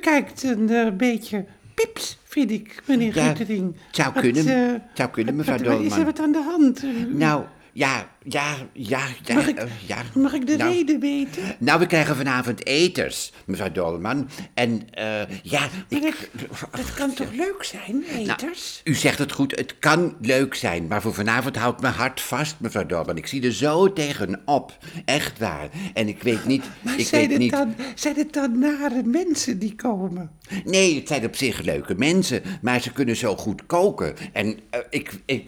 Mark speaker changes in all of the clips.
Speaker 1: kijkt een eh, beetje pips, vind ik, meneer
Speaker 2: Ja,
Speaker 1: Guttering.
Speaker 2: het zou
Speaker 1: Wat,
Speaker 2: kunnen,
Speaker 1: eh,
Speaker 2: het zou kunnen,
Speaker 1: wat-
Speaker 2: mevrouw
Speaker 1: wat- Is er
Speaker 2: Dolman.
Speaker 1: wat aan de hand? Eh,
Speaker 2: Nou, ja, ja, ja, ja.
Speaker 1: Mag ik-
Speaker 2: eh, ja.
Speaker 1: Mag ik de
Speaker 2: Nou,
Speaker 1: reden weten?
Speaker 2: Nou, we krijgen vanavond eters, mevrouw Dolman. En eh, ja,
Speaker 1: Maar
Speaker 2: ik...
Speaker 1: dat, dat kan toch leuk zijn,
Speaker 2: Nou,
Speaker 1: eters?
Speaker 2: U zegt het goed, het kan leuk zijn, maar voor vanavond houdt mijn hart vast, mevrouw Dolman. Ik zie er zo tegenop, echt waar. En ik weet niet,
Speaker 1: maar
Speaker 2: ik
Speaker 1: zijn
Speaker 2: weet
Speaker 1: het,
Speaker 2: niet...
Speaker 1: dan, zijn het dan nare mensen die komen?
Speaker 2: Nee, het zijn op zich leuke mensen, maar ze kunnen zo goed koken. En eh, ik, ik,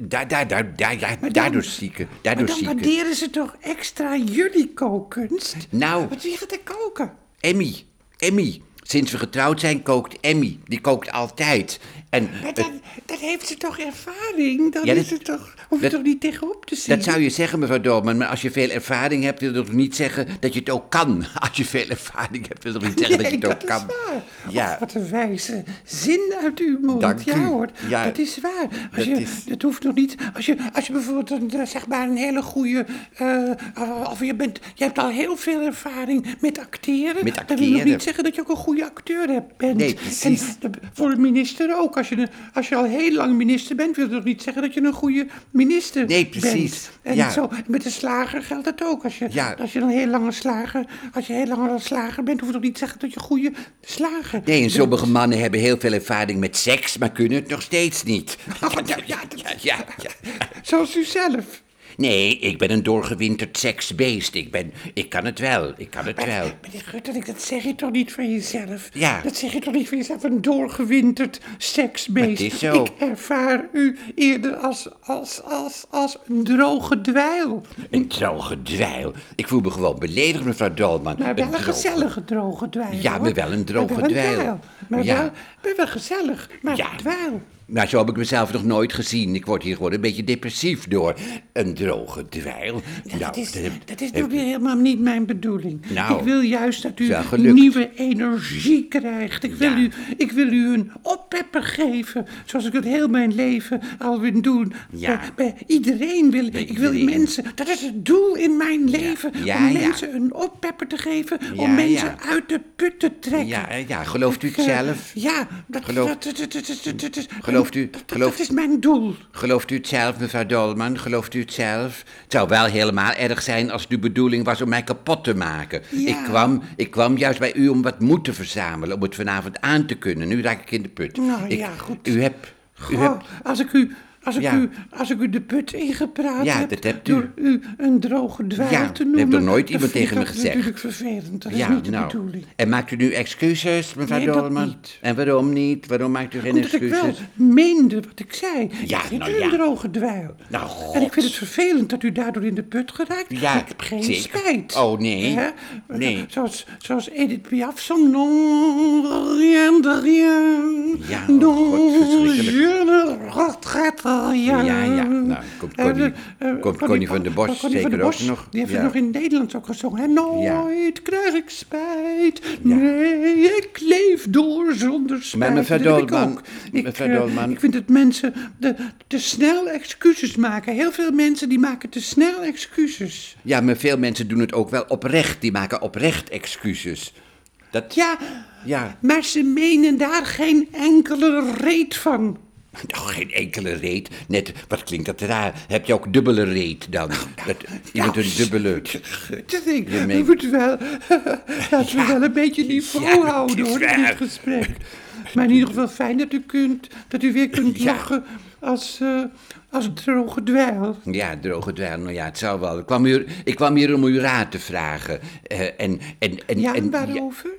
Speaker 2: daar, daar, daar, daar, ja, daardoor zieken,
Speaker 1: Maar
Speaker 2: daardoor
Speaker 1: dan
Speaker 2: zieken.
Speaker 1: waarderen ze toch extra jullie kookkunst?
Speaker 2: Nou.
Speaker 1: Want wie gaat er koken?
Speaker 2: Emmy, Emmy. Sinds we getrouwd zijn kookt Emmy. Die kookt altijd. En
Speaker 1: Maar
Speaker 2: eh,
Speaker 1: dan, dan heeft ze toch ervaring? Dan
Speaker 2: Ja,
Speaker 1: is
Speaker 2: dat-
Speaker 1: het toch, hoef je
Speaker 2: dat-
Speaker 1: toch niet tegenop te zien?
Speaker 2: dat zou je zeggen, mevrouw Dolman. Maar als je veel ervaring hebt, wil dat toch niet zeggen dat je het ook kan. Als je veel ervaring hebt, wil dat niet zeggen
Speaker 1: Nee,
Speaker 2: dat je het
Speaker 1: dat
Speaker 2: ook kan.
Speaker 1: is waar.
Speaker 2: Ja.
Speaker 1: Och, wat een wijze zin uit uw mond.
Speaker 2: Dank
Speaker 1: ja
Speaker 2: u.
Speaker 1: hoor,
Speaker 2: Ja,
Speaker 1: dat is waar. Als
Speaker 2: dat
Speaker 1: je,
Speaker 2: is-
Speaker 1: Dat hoeft nog niet. Als je, als je bijvoorbeeld een, eh, zeg maar een hele goede... eh, eh, of je, bent, je hebt al heel veel ervaring met acteren.
Speaker 2: Met
Speaker 1: Dan wil je nog
Speaker 2: acteren.
Speaker 1: niet zeggen dat je ook een goede acteur hebt- bent.
Speaker 2: Nee, precies.
Speaker 1: En de- voor een minister ook. Als je, een- als je al heel lang minister bent, wil dat nog niet zeggen dat je een goede minister
Speaker 2: Nee,
Speaker 1: bent.
Speaker 2: precies.
Speaker 1: En
Speaker 2: Ja.
Speaker 1: zo, met de slager geldt dat ook. Als je,
Speaker 2: Ja.
Speaker 1: als je een heel lange slager, als je heel lang een slager bent, hoeft het ook niet te zeggen dat je een goede slager
Speaker 2: Nee, en sommige mannen hebben heel veel ervaring met seks, maar kunnen het nog steeds niet.
Speaker 1: ja, ja, dat-
Speaker 2: ja, ja, ja.
Speaker 1: Zoals u zelf.
Speaker 2: Nee, ik ben een doorgewinterd seksbeest. Ik, ben, ik kan het wel, ik kan het wel.
Speaker 1: Meneer Guttering, dat zeg je toch niet van jezelf?
Speaker 2: Ja.
Speaker 1: Dat zeg je toch niet van jezelf, een doorgewinterd seksbeest?
Speaker 2: Maar het is zo.
Speaker 1: Ik ervaar u eerder als, als, als, als een droge dweil.
Speaker 2: Een droge dweil. Ik voel me gewoon beledigd, mevrouw Dolman.
Speaker 1: Maar wel een,
Speaker 2: droge-
Speaker 1: gezellige droge dweil.
Speaker 2: Ja,
Speaker 1: hoor.
Speaker 2: maar wel een droge
Speaker 1: maar wel een
Speaker 2: dweil.
Speaker 1: Maar,
Speaker 2: Ja.
Speaker 1: wel, maar wel gezellig, maar
Speaker 2: Ja.
Speaker 1: dweil.
Speaker 2: Nou, zo heb ik mezelf nog nooit gezien. Ik word hier gewoon een beetje depressief door. Een droge dweil. Nou,
Speaker 1: Ja, dat is,
Speaker 2: heb-
Speaker 1: dat is
Speaker 2: heb-
Speaker 1: natuurlijk weer helemaal niet mijn bedoeling.
Speaker 2: Nou,
Speaker 1: ik wil juist dat u
Speaker 2: ja, gelukt.
Speaker 1: nieuwe energie krijgt. Ik wil,
Speaker 2: Ja.
Speaker 1: u, ik wil u een oppepper geven, zoals ik het heel mijn leven al wil doen.
Speaker 2: Ja.
Speaker 1: Bij, bij iedereen wil
Speaker 2: Bij
Speaker 1: ik wil
Speaker 2: iedereen.
Speaker 1: mensen... Dat is het doel in mijn leven,
Speaker 2: Ja,
Speaker 1: om
Speaker 2: ja.
Speaker 1: mensen een oppepper te geven,
Speaker 2: Ja,
Speaker 1: om mensen
Speaker 2: ja.
Speaker 1: uit de put te trekken.
Speaker 2: ja, ja, gelooft u
Speaker 1: Ik,
Speaker 2: het
Speaker 1: eh,
Speaker 2: zelf?
Speaker 1: Ja, dat,
Speaker 2: Geloof-
Speaker 1: dat, dat, dat, dat, dat- dat- dat-
Speaker 2: Gelooft u-
Speaker 1: dat- dat-
Speaker 2: gelooft-
Speaker 1: dat is mijn doel.
Speaker 2: Gelooft u het zelf, mevrouw Dolman? Gelooft u het zelf? Het zou wel helemaal erg zijn als het uw bedoeling was om mij kapot te maken.
Speaker 1: Ja.
Speaker 2: Ik, kwam, ik kwam juist bij u om wat moed te verzamelen, om het vanavond aan te kunnen. Nu raak ik in de put.
Speaker 1: Nou,
Speaker 2: Ik-
Speaker 1: ja, goed.
Speaker 2: U hebt... U
Speaker 1: Goh,
Speaker 2: hebt
Speaker 1: als, ik u, als, ik
Speaker 2: Ja.
Speaker 1: u, als ik u de put ingepraat
Speaker 2: Ja,
Speaker 1: heb,
Speaker 2: dat hebt u.
Speaker 1: door u een droge dweil
Speaker 2: Ja,
Speaker 1: te
Speaker 2: dat
Speaker 1: noemen...
Speaker 2: heeft nog nooit iemand
Speaker 1: vind ik
Speaker 2: tegen me
Speaker 1: dat
Speaker 2: gezegd.
Speaker 1: natuurlijk vervelend. Dat is niet de bedoeling.
Speaker 2: nou. En maakt u nu excuses, mevrouw
Speaker 1: Nee, dat
Speaker 2: Dolman?
Speaker 1: niet.
Speaker 2: En waarom niet? Waarom maakt u geen
Speaker 1: Omdat ik
Speaker 2: excuses?
Speaker 1: wel meende wat ik zei.
Speaker 2: Ja,
Speaker 1: ik vind
Speaker 2: nou
Speaker 1: u een
Speaker 2: ja.
Speaker 1: droge dweil.
Speaker 2: Nou, God.
Speaker 1: En ik vind het vervelend dat u daardoor in de put geraakt.
Speaker 2: Ja,
Speaker 1: Maar ik heb geen
Speaker 2: zeker.
Speaker 1: spijt.
Speaker 2: Oh, nee.
Speaker 1: Hè?
Speaker 2: Nee.
Speaker 1: Zoals, zoals Edith Piaf zong. Non, rien de rien.
Speaker 2: Ja, oh,
Speaker 1: non,
Speaker 2: God, verschrikkelijk.
Speaker 1: je ne regrette rien.
Speaker 2: Ja, ja. Nou, komt
Speaker 1: Eh,
Speaker 2: Connie-
Speaker 1: eh,
Speaker 2: komt Connie van den Bosch
Speaker 1: eh, Connie van
Speaker 2: zeker
Speaker 1: den
Speaker 2: ook
Speaker 1: Bosch,
Speaker 2: nog?
Speaker 1: Die heeft
Speaker 2: Ja.
Speaker 1: het nog in Nederland ook gezongen. hè? Nooit krijg ik spijt.
Speaker 2: Ja.
Speaker 1: Nee, ik leef door zonder spijt.
Speaker 2: Maar mevrouw
Speaker 1: Dat heb ik
Speaker 2: Dolman,
Speaker 1: ook. Ik,
Speaker 2: mevrouw
Speaker 1: eh,
Speaker 2: Dolman.
Speaker 1: ik vind dat mensen de, te snel excuses maken. Heel veel mensen die maken te snel excuses.
Speaker 2: Ja, maar veel mensen doen het ook wel oprecht. Die maken oprecht excuses. Dat...
Speaker 1: Ja,
Speaker 2: Ja.
Speaker 1: maar ze menen daar geen enkele reet van.
Speaker 2: Nou, geen enkele reet. Net, wat klinkt dat raar. Heb je ook dubbele reet dan?
Speaker 1: Oh,
Speaker 2: Dat, iemand een dubbele...
Speaker 1: Dat ik,
Speaker 2: Je
Speaker 1: we
Speaker 2: meent-
Speaker 1: moeten wel, laten we wel een beetje niveau
Speaker 2: Ja, dat
Speaker 1: houden
Speaker 2: is
Speaker 1: hoor, in
Speaker 2: waar.
Speaker 1: dit gesprek. Maar in ieder geval fijn dat u, kunt, dat u weer kunt
Speaker 2: Ja.
Speaker 1: lachen als, eh als een droge dweil.
Speaker 2: Ja, droge dweil. Nou ja, het zou wel. Ik kwam hier, ik kwam hier om u raad te vragen. Eh, en, en, en,
Speaker 1: Ja,
Speaker 2: en,
Speaker 1: waarover?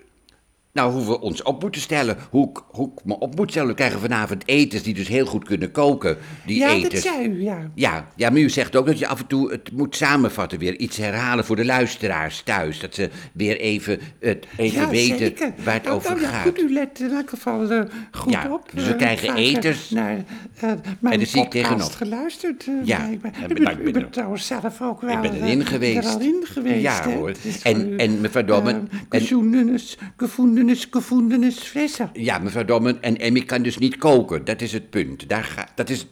Speaker 2: Nou, hoe we ons op moeten stellen. Hoe ik, hoe ik me op moet stellen. We krijgen vanavond eters die dus heel goed kunnen koken. Die dus.
Speaker 1: Ja,
Speaker 2: eters.
Speaker 1: dat zei u, ja.
Speaker 2: Ja, ja, maar u zegt ook dat je af en toe het moet samenvatten weer. Iets herhalen voor de luisteraars thuis. Dat ze weer even, het, even weten
Speaker 1: zeker.
Speaker 2: waar het
Speaker 1: Nou,
Speaker 2: over
Speaker 1: nou, ja,
Speaker 2: gaat.
Speaker 1: Goed, u let in elk geval eh, goed
Speaker 2: Ja,
Speaker 1: op.
Speaker 2: dus we
Speaker 1: Eh,
Speaker 2: krijgen
Speaker 1: vaker
Speaker 2: eters.
Speaker 1: Naar, eh mijn
Speaker 2: daar zie ik
Speaker 1: podcast
Speaker 2: tegenop.
Speaker 1: geluisterd.
Speaker 2: Ja,
Speaker 1: ja, ik ben,
Speaker 2: en
Speaker 1: u,
Speaker 2: bedankt,
Speaker 1: bent, u
Speaker 2: ben
Speaker 1: bent
Speaker 2: er-
Speaker 1: trouwens zelf ook wel.
Speaker 2: ik ben
Speaker 1: eh,
Speaker 2: erin geweest.
Speaker 1: Er al in geweest.
Speaker 2: Ja,
Speaker 1: hè.
Speaker 2: hoor.
Speaker 1: Het is
Speaker 2: En-
Speaker 1: voor u,
Speaker 2: en mevrouw Dolman,
Speaker 1: eh,
Speaker 2: en-
Speaker 1: gezoendenis, gevoendenis, gevoendenis, frisser.
Speaker 2: Ja, mevrouw Dommen en Emmy kan dus niet koken. Dat is het punt. Daar ga, dat, is,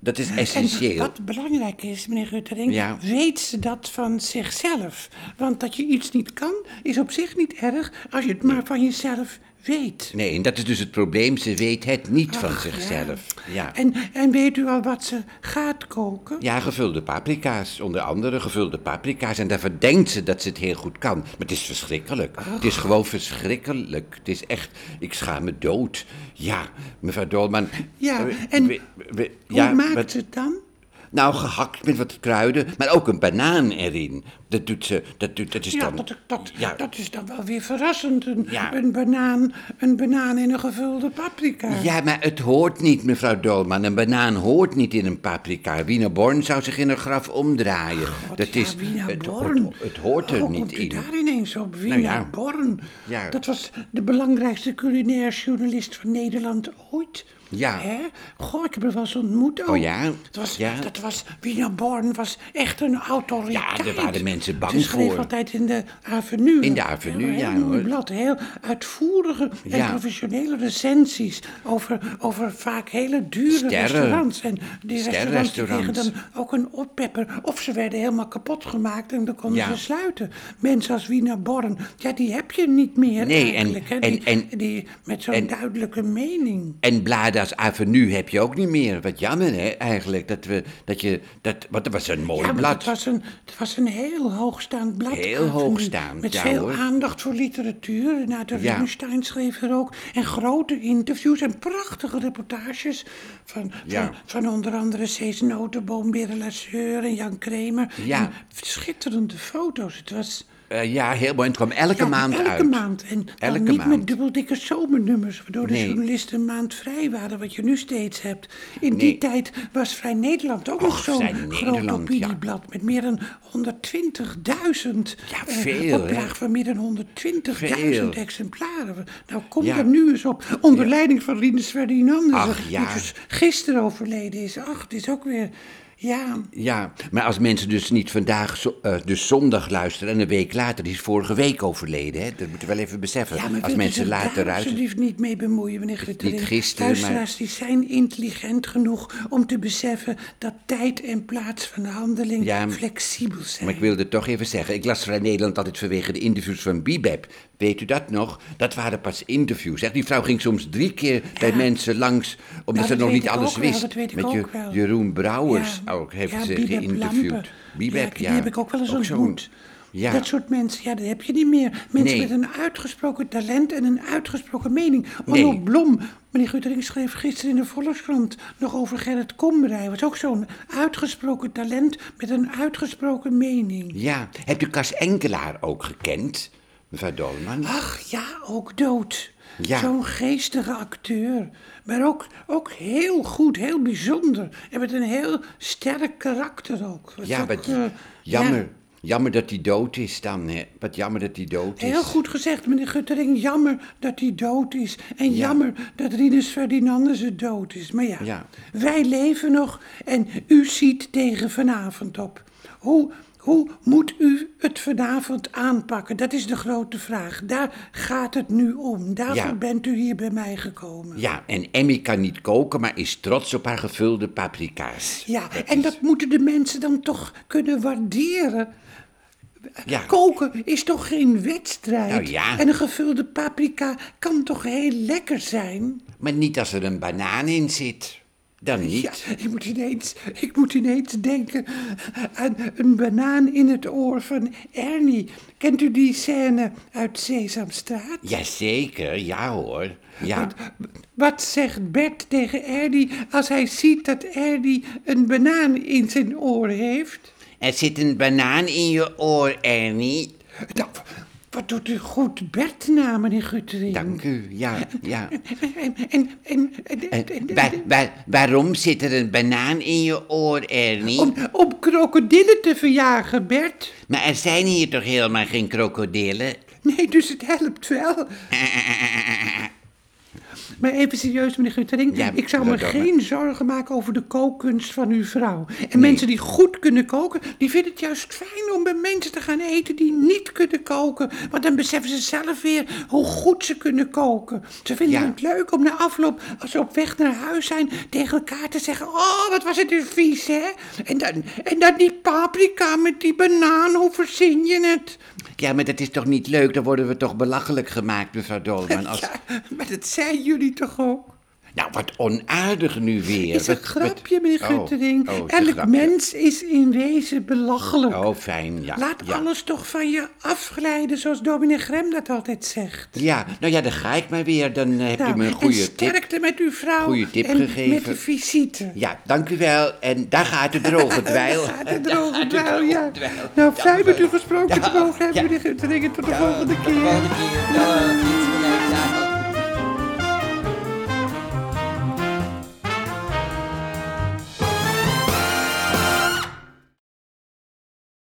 Speaker 2: dat is essentieel.
Speaker 1: Wat belangrijk is, meneer Ruttering,
Speaker 2: Ja.
Speaker 1: weet ze dat van zichzelf. Want dat je iets niet kan, is op zich niet erg als je het maar van jezelf weet.
Speaker 2: Nee, dat is dus het probleem. Ze weet het niet van
Speaker 1: Ach,
Speaker 2: zichzelf. Ja. Ja.
Speaker 1: En, en weet u al wat ze gaat koken?
Speaker 2: gevulde paprika's. Onder andere gevulde paprika's. En daarvan denkt ze dat ze het heel goed kan. Maar het is verschrikkelijk. Het
Speaker 1: Ah.
Speaker 2: is gewoon verschrikkelijk. Het is echt... Ik schaam me dood. Ja, mevrouw Dolman.
Speaker 1: Ja,
Speaker 2: eh,
Speaker 1: en
Speaker 2: we- we-
Speaker 1: Hoe maakt
Speaker 2: wat-
Speaker 1: ze het dan?
Speaker 2: Nou, gehakt met wat kruiden, maar ook een banaan erin. Dat doet ze, dat, doet, dat is
Speaker 1: Ja,
Speaker 2: dan...
Speaker 1: dat, dat,
Speaker 2: ja.
Speaker 1: dat is dan wel weer verrassend. Een,
Speaker 2: Ja.
Speaker 1: een, banaan, een banaan in een gevulde paprika.
Speaker 2: Ja, maar het hoort niet, mevrouw Dolman. Een banaan hoort niet in een paprika. Wienerborn zou zich in een graf omdraaien. dat
Speaker 1: ja,
Speaker 2: is...
Speaker 1: Wiener
Speaker 2: het,
Speaker 1: Born.
Speaker 2: hoort, het hoort er
Speaker 1: Hoe
Speaker 2: niet
Speaker 1: komt u
Speaker 2: in. Nou
Speaker 1: daar ineens op? Wiener
Speaker 2: ja.
Speaker 1: Born.
Speaker 2: Ja.
Speaker 1: Dat was de belangrijkste culinair journalist van Nederland ooit.
Speaker 2: Ja.
Speaker 1: Hè? Goh, ik heb hem wel eens ontmoet ook.
Speaker 2: Oh ja?
Speaker 1: Dat was,
Speaker 2: Ja.
Speaker 1: dat was, Wiener Born was echt een autoriteit.
Speaker 2: Ja, daar waren mensen bang
Speaker 1: Ze schreef
Speaker 2: voor.
Speaker 1: altijd in de Avenue.
Speaker 2: In de Avenue,
Speaker 1: Een
Speaker 2: ja,
Speaker 1: heel mooi
Speaker 2: hoor.
Speaker 1: blad. Heel uitvoerige en
Speaker 2: Ja.
Speaker 1: professionele recensies over, over vaak hele dure
Speaker 2: Sterren.
Speaker 1: restaurants. En die restaurants die kregen
Speaker 2: Sterrenrestaurants.
Speaker 1: dan ook een oppepper. Of ze werden helemaal kapot gemaakt en dan konden
Speaker 2: Ja.
Speaker 1: ze sluiten. Mensen als Wiener Born, ja, die heb je niet meer
Speaker 2: Nee, en-
Speaker 1: eigenlijk. hè.
Speaker 2: en-
Speaker 1: die,
Speaker 2: en-
Speaker 1: die, met zo'n
Speaker 2: en-
Speaker 1: duidelijke mening.
Speaker 2: En Blada's Avenue heb je ook niet meer. Wat jammer, hè, eigenlijk. Dat we, dat je, dat, want dat was een mooi
Speaker 1: Ja, maar
Speaker 2: blad.
Speaker 1: het was, een, het was een heel hoogstaand blad.
Speaker 2: Heel
Speaker 1: Avenue,
Speaker 2: hoogstaand,
Speaker 1: Met
Speaker 2: ja,
Speaker 1: veel
Speaker 2: hoor.
Speaker 1: aandacht voor literatuur. Nou, de
Speaker 2: Ja.
Speaker 1: Rubinstein schreef er ook. En grote interviews en prachtige reportages. Van,
Speaker 2: Ja.
Speaker 1: van, van onder andere Cees Notenboom, Beryl Lasseur en Jan Kramer.
Speaker 2: Ja.
Speaker 1: En schitterende foto's. Het was...
Speaker 2: Eh, ja, heel mooi. En het kwam elke
Speaker 1: Ja,
Speaker 2: maand
Speaker 1: elke
Speaker 2: uit.
Speaker 1: maand. En dan
Speaker 2: Elke
Speaker 1: niet met
Speaker 2: maand.
Speaker 1: dubbeldikke zomernummers, waardoor de
Speaker 2: Nee.
Speaker 1: journalisten een maand vrij waren, wat je nu steeds hebt. In die
Speaker 2: Nee.
Speaker 1: tijd was Vrij Nederland ook nog
Speaker 2: Och,
Speaker 1: zo'n
Speaker 2: Vrij
Speaker 1: groot
Speaker 2: Nederland, ja.
Speaker 1: opinieblad met meer dan 120.000.
Speaker 2: Ja,
Speaker 1: eh,
Speaker 2: veel, hè?
Speaker 1: Oplaag van meer dan 120.000
Speaker 2: Veel.
Speaker 1: exemplaren. Nou, kom
Speaker 2: Ja.
Speaker 1: daar nu eens op. Onder leiding van Rinus Ferdinandus.
Speaker 2: Ach,
Speaker 1: die
Speaker 2: ja.
Speaker 1: dus gisteren overleden is. Ach, het is ook weer... Ja,
Speaker 2: Ja, maar als mensen dus niet vandaag, zo- eh, dus zondag luisteren en een week later, die is vorige week overleden, hè? dat moeten we wel even beseffen.
Speaker 1: Ja, maar
Speaker 2: als
Speaker 1: wilt u
Speaker 2: mensen
Speaker 1: zich
Speaker 2: later
Speaker 1: daar
Speaker 2: luisteren.
Speaker 1: alsjeblieft niet mee bemoeien, meneer Gutterin.
Speaker 2: gisteren, maar-
Speaker 1: Luisteraars die zijn intelligent genoeg om te beseffen dat tijd en plaats van handeling
Speaker 2: Ja, maar-
Speaker 1: flexibel zijn.
Speaker 2: Maar ik wilde toch even zeggen, ik las Vrij Nederland altijd vanwege de interviews van Bibep. Weet u dat nog? Dat waren pas interviews. Echt, die vrouw ging soms drie keer bij mensen langs, omdat
Speaker 1: Nou,
Speaker 2: ze
Speaker 1: dat
Speaker 2: nog
Speaker 1: weet
Speaker 2: niet
Speaker 1: ik
Speaker 2: alles
Speaker 1: ook wel,
Speaker 2: wist.
Speaker 1: dat weet ik
Speaker 2: Met
Speaker 1: ook
Speaker 2: Je-
Speaker 1: wel.
Speaker 2: Jeroen Brouwers
Speaker 1: Ja,
Speaker 2: ook heeft
Speaker 1: ja,
Speaker 2: ze
Speaker 1: Bibep
Speaker 2: geïnterviewd.
Speaker 1: Lampen.
Speaker 2: Bibep,
Speaker 1: ja. Die heb ik ook wel eens
Speaker 2: zo'n-
Speaker 1: ontmoet.
Speaker 2: Ja.
Speaker 1: Dat soort mensen, ja, dat heb je niet meer. Mensen
Speaker 2: Nee.
Speaker 1: met een uitgesproken talent en een uitgesproken mening.
Speaker 2: Nee.
Speaker 1: Onno Blom, meneer Guttering schreef gisteren in de Volkskrant nog over Gerrit Komrij. was ook zo'n uitgesproken talent met een uitgesproken mening.
Speaker 2: ja. Hebt u Cas Enkelaar ook gekend, mevrouw Dolman?
Speaker 1: Ach ja, ook dood.
Speaker 2: Ja.
Speaker 1: Zo'n geestige acteur. Maar ook, ook heel goed, heel bijzonder. En met een heel sterk karakter ook. Dat is
Speaker 2: Ja,
Speaker 1: ook,
Speaker 2: wat
Speaker 1: eh,
Speaker 2: jammer.
Speaker 1: ja,
Speaker 2: Jammer dat hij dood is dan, hè. Wat jammer dat hij dood is.
Speaker 1: heel goed gezegd, meneer Guttering. Jammer dat hij dood is. En jammer dat Rinus Ferdinandus het dood is. Maar ja,
Speaker 2: Ja.
Speaker 1: wij leven nog en u ziet tegen vanavond op. Hoe, hoe moet u het vanavond aanpakken? Dat is de grote vraag. Daar gaat het nu om. Daarvoor
Speaker 2: Ja.
Speaker 1: bent u hier bij mij gekomen.
Speaker 2: Ja, en Emmy kan niet koken, maar is trots op haar gevulde paprika's.
Speaker 1: Ja, en dat moeten de mensen dan toch kunnen waarderen.
Speaker 2: Ja.
Speaker 1: Koken is toch geen wedstrijd?
Speaker 2: Nou ja.
Speaker 1: En een gevulde paprika kan toch heel lekker zijn?
Speaker 2: Maar niet als er een banaan in zit. Dan niet.
Speaker 1: Ja, ik moet ineens, ik moet ineens denken aan een banaan in het oor van Ernie. Kent u die scène uit Sesamstraat?
Speaker 2: Jazeker, ja hoor. Ja.
Speaker 1: Wat zegt Bert tegen Ernie als hij ziet dat Ernie een banaan in zijn oor heeft?
Speaker 2: Er zit een banaan in je oor, Ernie.
Speaker 1: Nou, wat doet u goed Bert na, meneer Guttering?
Speaker 2: Dank u, ja, ja.
Speaker 1: En, en, en, en, en,
Speaker 2: En
Speaker 1: en-
Speaker 2: waar- waar- waarom zit er een banaan in je oor, Ernie?
Speaker 1: om, om krokodillen te verjagen, Bert.
Speaker 2: Maar er zijn hier toch helemaal geen krokodillen?
Speaker 1: Nee, dus het helpt wel. Maar even serieus, meneer Guttering.
Speaker 2: Ja,
Speaker 1: ik zou me
Speaker 2: mevrouw Dormer.
Speaker 1: geen zorgen maken over de kookkunst van uw vrouw. En mensen die goed kunnen koken, die vinden het juist fijn om bij mensen te gaan eten die niet kunnen koken. Want dan beseffen ze zelf weer hoe goed ze kunnen koken. Ze vinden
Speaker 2: Ja.
Speaker 1: het leuk om na afloop, als ze op weg naar huis zijn, tegen elkaar te zeggen: Oh, wat was het dus vies, hè? En dan, en dan die paprika met die banaan, hoe verzin je het?
Speaker 2: Ja, maar dat is toch niet leuk? Dan worden we toch belachelijk gemaakt, mevrouw Dolman. Als...
Speaker 1: Ja, maar dat zijn jullie toch ook?
Speaker 2: Nou, wat onaardig nu weer.
Speaker 1: is een
Speaker 2: Wat- wat-
Speaker 1: grapje, meneer
Speaker 2: Oh,
Speaker 1: Guttering.
Speaker 2: oh, het is een
Speaker 1: Elk
Speaker 2: grapje.
Speaker 1: mens is in wezen belachelijk.
Speaker 2: Oh, fijn, ja.
Speaker 1: Laat
Speaker 2: ja.
Speaker 1: alles toch van je afglijden, zoals dominee Grem dat altijd zegt. Nou,
Speaker 2: Ja, nou ja, dan ga ik maar weer. Dan eh, heb je me een
Speaker 1: en
Speaker 2: goede tip.
Speaker 1: sterkte met uw vrouw
Speaker 2: goede tip
Speaker 1: en met
Speaker 2: gegeven.
Speaker 1: de visite.
Speaker 2: Ja, dank u wel. En daar gaat de droge dweil.
Speaker 1: Ja, de droge
Speaker 2: de
Speaker 1: dweil,
Speaker 2: droge
Speaker 1: ja.
Speaker 2: dweil.
Speaker 1: Nou,
Speaker 2: Dank
Speaker 1: fijn
Speaker 2: u
Speaker 1: met
Speaker 2: wel.
Speaker 1: u gesproken te
Speaker 2: Ja,
Speaker 1: mogen hebben,
Speaker 2: ja.
Speaker 1: meneer Guttering. Tot de volgende
Speaker 2: Tot de
Speaker 1: keer.
Speaker 2: volgende keer. Dag. Iets gelijk. Dag.